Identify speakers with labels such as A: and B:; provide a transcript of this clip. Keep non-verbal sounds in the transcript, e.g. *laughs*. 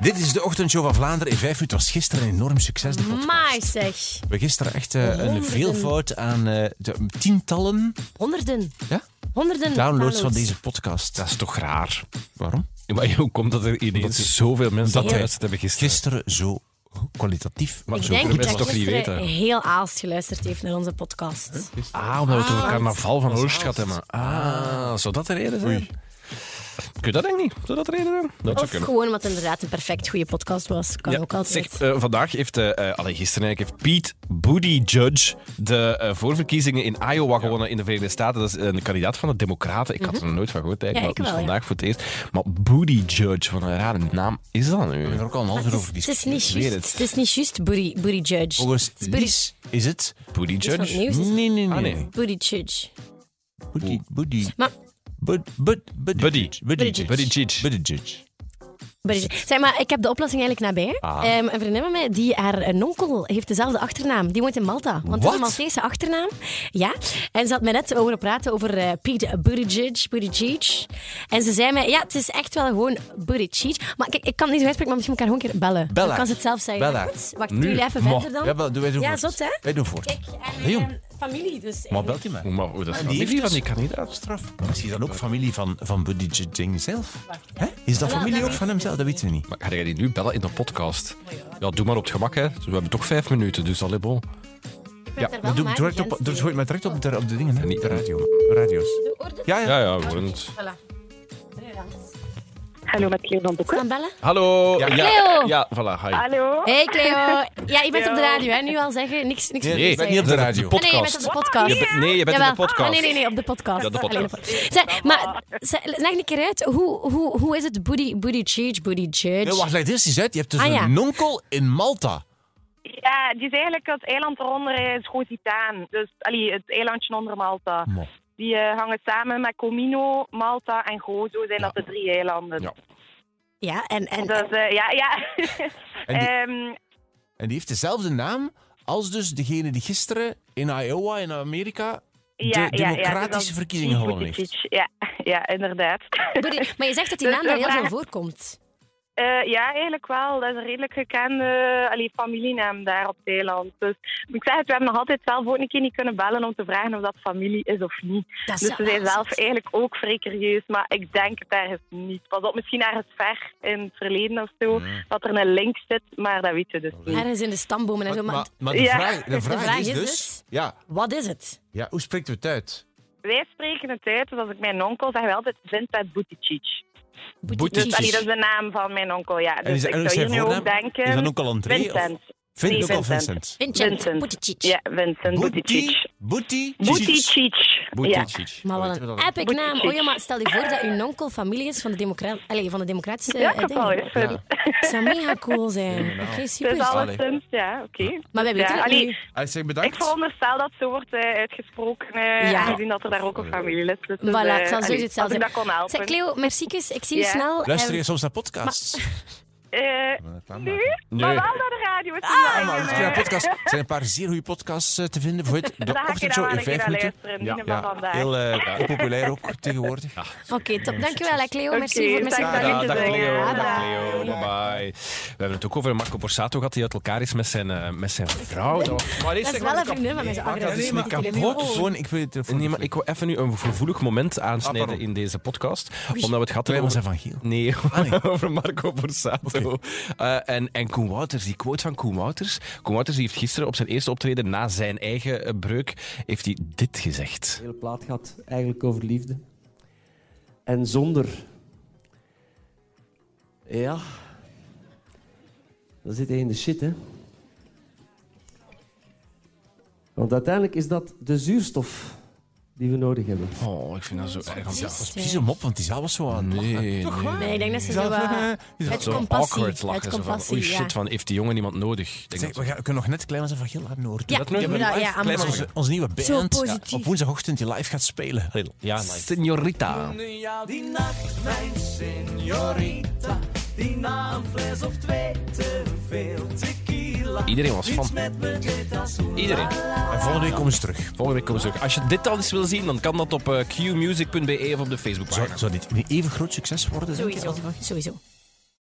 A: Dit is de ochtendshow van Vlaanderen in 5 minuten. was gisteren een enorm succes, de podcast.
B: Maai zeg.
A: We hebben gisteren echt eh, een
B: Honderden.
A: veelvoud aan eh, de- tientallen
B: Honderden.
A: ja?
B: Honderden
A: downloads van deze podcast.
C: Dat is toch raar?
A: Waarom?
C: Ja, Maar hoe komt dat er
A: Omdat
C: ineens zoveel mensen dat
A: wij
C: geluisterd hebben gisteren?
A: Gisteren zo kwalitatief.
C: Maar
B: Ik
C: zo kunnen
B: denk
C: mensen
B: dat
C: toch niet
B: gisteren
C: weten?
B: heel Aalst geluisterd heeft naar onze podcast.
C: Ah, omdat we het over carnaval van Oost gehad hebben. Ah, zou dat de reden zijn? Kun je dat denk ik niet? Zou dat de reden zijn? Dat zou
B: Of
C: kunnen.
B: gewoon wat inderdaad een perfect goede podcast was. Kan
C: Ja,
B: ook altijd.
C: Zeg, eh, vandaag heeft, eh eh, allee, gisteren eigenlijk, heeft Pete Booty Judge de eh, voorverkiezingen in Iowa gewonnen in de Verenigde Staten. Dat is een kandidaat van de Democraten. Ik had er nog nooit van gehoord eigenlijk,
B: Ja,
C: maar
B: ik
C: het is
B: wel, ja.
C: vandaag voor het eerst. Maar Booty Judge, wat een rare naam is dat nu?
A: We hebben er ook al een half
B: Maar
A: uur
B: het,
A: over
B: is, het is
A: gediscussieerd.
B: niet
C: weet
B: juist.
C: het.
B: Het is niet juist, Booty Booty Judge.
A: Volgens
B: Het is Booty-
A: Lies is het...
C: Booty
B: is van het
C: Judge?
B: nieuws, is het?
A: Nee, nee, nee.
C: Ah, nee.
A: nee.
B: Booty Judge.
A: Buddy, buddy,
B: Maar,
A: bud, bud, buddy,
C: Buddy.
A: judge, buddy, judge,
C: Buddy judge.
A: buddy judge. Dus
B: Buddy Judge. zeg maar, ik heb de oplossing eigenlijk nabij.
A: Ah.
B: Ehm, een vriendin van mij, die haar een onkel heeft dezelfde achternaam. Die woont in Malta. Want het is een
A: Wat?
B: Maltese achternaam. Ja. En ze had mij net over praten over eh Pete Buttigieg, Buttigieg. En ze zei mij, ja, het is echt wel gewoon Buttigieg. Maar kijk, ik kan het niet zo uitspreken, maar misschien kan ik gewoon een keer bellen.
A: Bel
B: Dan
A: haar.
B: kan ze het zelf zeggen.
A: Bel haar.
B: Goed, wacht,
C: Nu.
B: jullie even
C: Ma.
B: verder dan.
A: Ja, wel, doen wij doen
B: Ja,
A: voort.
B: zot, hè?
A: Wij doen voort.
B: Kijk, en,
A: Allee, jong.
B: en familie dus.
A: Maar belt hij mij?
C: Maar hoe dat is
A: En
C: familie
A: heeft
C: van die
A: dus-
C: kandidaat.
A: Straf. Misschien dan ook familie van, van Buddy J- Jing zelf. Hè? Is dat
B: Ja,
A: familie
B: dat Oh,
A: ook van hemzelf? Dat weten we niet.
C: Maar ga jij die nu bellen in de podcast? Ja, doe maar op het gemak, hè. Dus we hebben toch vijf minuten, dus allez bon.
B: Ja,
A: Maar doe, direct op, doe, gooi maar direct op de, op de dingen, hè?
C: Niet-
A: de radio. De radio's. Ja, ja.
C: Ja, ja, we worden het.
D: Hallo, met Cleo van Boeken.
B: Gaan bellen?
C: Hallo. Ja,
B: Cleo.
C: Ja, voilà, hi.
D: Hallo.
B: Hey Cleo. Ja, je bent op de
D: Ja.
B: radio, hè? Nu al zeggen, niks, niks
A: Nee,
B: meer
A: nee, ik ben
B: zeggen.
A: niet op de radio.
B: Ah, nee, je bent op de podcast.
C: Je bent- nee, je bent in de
B: Jawel.
C: podcast.
B: Ah, nee, nee, nee, op de podcast.
C: Ja, de
B: Alleen
C: podcast.
B: podcast. Zeg, maar zeg, leg een keer uit, hoe, hoe, hoe is het booty, booty judge, booty judge?
A: Nee, wacht, leg dit eens uit. Je hebt dus
B: Ah, ja.
A: een onkel in Malta.
D: Ja, die is eigenlijk het eiland eronder is Groot-Itaan. Dus allee, het eilandje onder Malta.
A: Mo.
D: Die eh, hangen samen met Comino, Malta en Gozo zijn dat de drie eilanden.
C: Ja.
B: Ja, en, en,
D: Dus eh, ja, ja.
A: En die-
D: Ehm,
A: En die heeft dezelfde naam als dus degene die gisteren in Iowa, in Amerika, de
D: ja, ja, ja,
A: democratische
D: dus dat-
A: verkiezingen gewonnen heeft.
D: Ja, *laughs* ja, inderdaad.
B: booty- maar je zegt dat die naam
D: Dus,
B: daar
D: eh,
B: heel veel
D: vraag-
B: voorkomt.
D: *laughs* Eh, ja, eigenlijk wel. Dat is een redelijk gekende allee, familienaam daar op het eiland. Dus ik zeg het, we hebben nog altijd zelf ook een keer niet kunnen bellen om te vragen of dat familie is of niet.
B: Dat is
D: Dus ze
B: wel
D: zijn zelf
B: zot.
D: eigenlijk ook vrij curieus, maar ik denk het ergens niet. Pas op, misschien ergens ver in het verleden of zo, dat er een link zit, maar dat weet je dus niet.
B: Ergens in de stambomen en zo,
A: Maar,
B: maar,
A: maar, maar de,
D: Ja.
B: *laughs*
A: vraag, de, vraag
B: vraag
A: is
B: is
A: dus...
B: dus-
A: Ja,
B: wat is het?
A: ja, hoe spreekt we het uit?
D: Wij spreken het uit, dus als ik mijn onkel zeg, wij altijd Vincent Buttigieg.
C: Booty
D: Dus allee,
C: Precies.
D: dat is de naam van mijn onkel, ja.
A: En
D: Dus
A: is,
D: ik
A: en
D: zou
A: is
D: hier
A: zijn
D: nu ook
A: voornaam...
D: denken...
A: Is dat onkel André?
D: Vincent.
A: Of, Vin,
D: Nee,
A: onkel
D: Vincent.
A: Vincent.
B: Vincent
D: Vincent.
B: Buttigieg.
D: Ja, Vincent Buttigieg.
A: Booty.
D: Buttigieg. Ja.
C: Buttigieg.
B: Maar
A: Weet
B: wat
A: je
B: een
A: wat dat-
B: epic
D: Booty
B: naam.
D: Cheeks.
B: Oh ja, maar stel je voor dat uw onkel familie is van de, democra Allee, van de democratische
D: Ja,
B: eh,
D: ik
B: dingen.
D: wel eens.
A: Ja.
B: Dat zou mega cool zijn. Oké,
D: *laughs*
C: nou.
D: Het
B: super.
D: is alleszins, ja, oké.
B: Maar wij weten
D: Ja,
B: het
D: allee,
B: nu.
A: Hij zegt
D: Ik
A: bedankt.
D: veronderstel dat zo wordt eh, uitgesproken, eh,
B: Ja.
D: aangezien dat er daar ook een familie is. Dus,
B: Voilà, het
D: eh,
B: zal
D: allee,
B: sowieso
D: als
B: hetzelfde
D: ik dat kon helpen.
B: Zeg, Cleo, merciekes. Ik zie je
D: Ja.
B: snel.
A: Luister
B: Eh,
A: je soms naar podcasts? *laughs*
D: Eh, nu?
C: Nee.
D: Maar wel naar de radio.
B: Ah!
D: Het is wel
A: Ah, Maar
D: een,
A: luister je naar
D: eh,
A: podcasts? Er Nou, zijn een paar zeer goede podcasts eh, te vinden. Voor het,
D: dan
A: de
D: ga ik er
A: ochtendshow
B: nou
D: wel
A: in
D: een
A: vijf
D: keer aan
A: minuten.
D: luisteren.
C: Ja.
D: Ja.
A: Ja,
D: Ja. vandaag.
A: heel eh, populair ook tegenwoordig.
B: Oké, top. Dankjewel, hè, Cleo. Merci
D: Oké,
B: voor Ah, het
D: dag,
B: message.
C: Ja, dag
D: Dankjewel.
C: Leo,
D: Dag.
C: dag Leo, bye bye. We hebben het ook over Marco Borsato gehad, die uit elkaar is met zijn, eh, met zijn vrouw. Dat was- Maar
B: Dat is wel een vriendin van mij. dus zo agressief.
C: is niet kapot.
A: Gewoon, ik wil je telefoon.
C: Nee, maar ik wil even nu een gevoelig moment aansnijden
A: pardon.
C: in deze podcast. Omdat we het gehad
A: Wij
C: Ah, hebben
A: was
C: over...
A: van Giel.
C: Nee,
A: nee.
C: *laughs* over Marco Borsato. Eh, en, en Koen Wouters, die quote van Koen Wouters. Koen Wouters die heeft gisteren op zijn eerste optreden na zijn eigen eh, breuk, heeft hij dit gezegd.
E: De hele plaat gaat eigenlijk over liefde. En zonder. Ja. Dan zit hij in de shit, hè? Want uiteindelijk is dat de zuurstof die we nodig hebben.
C: Oh, ik vind dat zo erg.
B: Precies,
C: Ja.
A: Precies een mop, want die zaal was zo aan.
C: Nee, nee.
B: Nee, ik denk dat ze zo...
A: Zelf,
B: eh,
A: eh, is dat
B: het
C: Zo
B: compassie.
C: awkward lachen.
B: Het
C: zo van,
B: compassie,
C: oei
B: ja.
C: shit, van, heeft die jongen iemand nodig? Ik Denk
A: Zeg,
C: dat-
A: we, gaan, we kunnen nog net Klein was van Giel laten horen.
B: Ja,
A: Dat
B: doe
A: hebben
B: dat,
A: live.
B: ja,
A: Klein was
B: amai.
A: onze, onze nieuwe band.
B: Zo positief.
A: Op woensdagochtend die live gaat spelen. Allee,
C: ja, Senorita.
F: Die nacht, mijn signorita, die na een fles of twee te veel tequila.
C: Iedereen was
F: Iets
C: fan.
F: met me deed als hoe
C: Iedereen.
A: En volgende week komen ze terug.
C: Volgende week komen ze ook. Als je dit al eens wil zien, dan kan dat op eh, qmusic.be of op de Facebookpagina.
A: Zou, zou dit een even groot succes worden? denk je,
B: Sowieso.
A: als die van Giel?
B: Sowieso.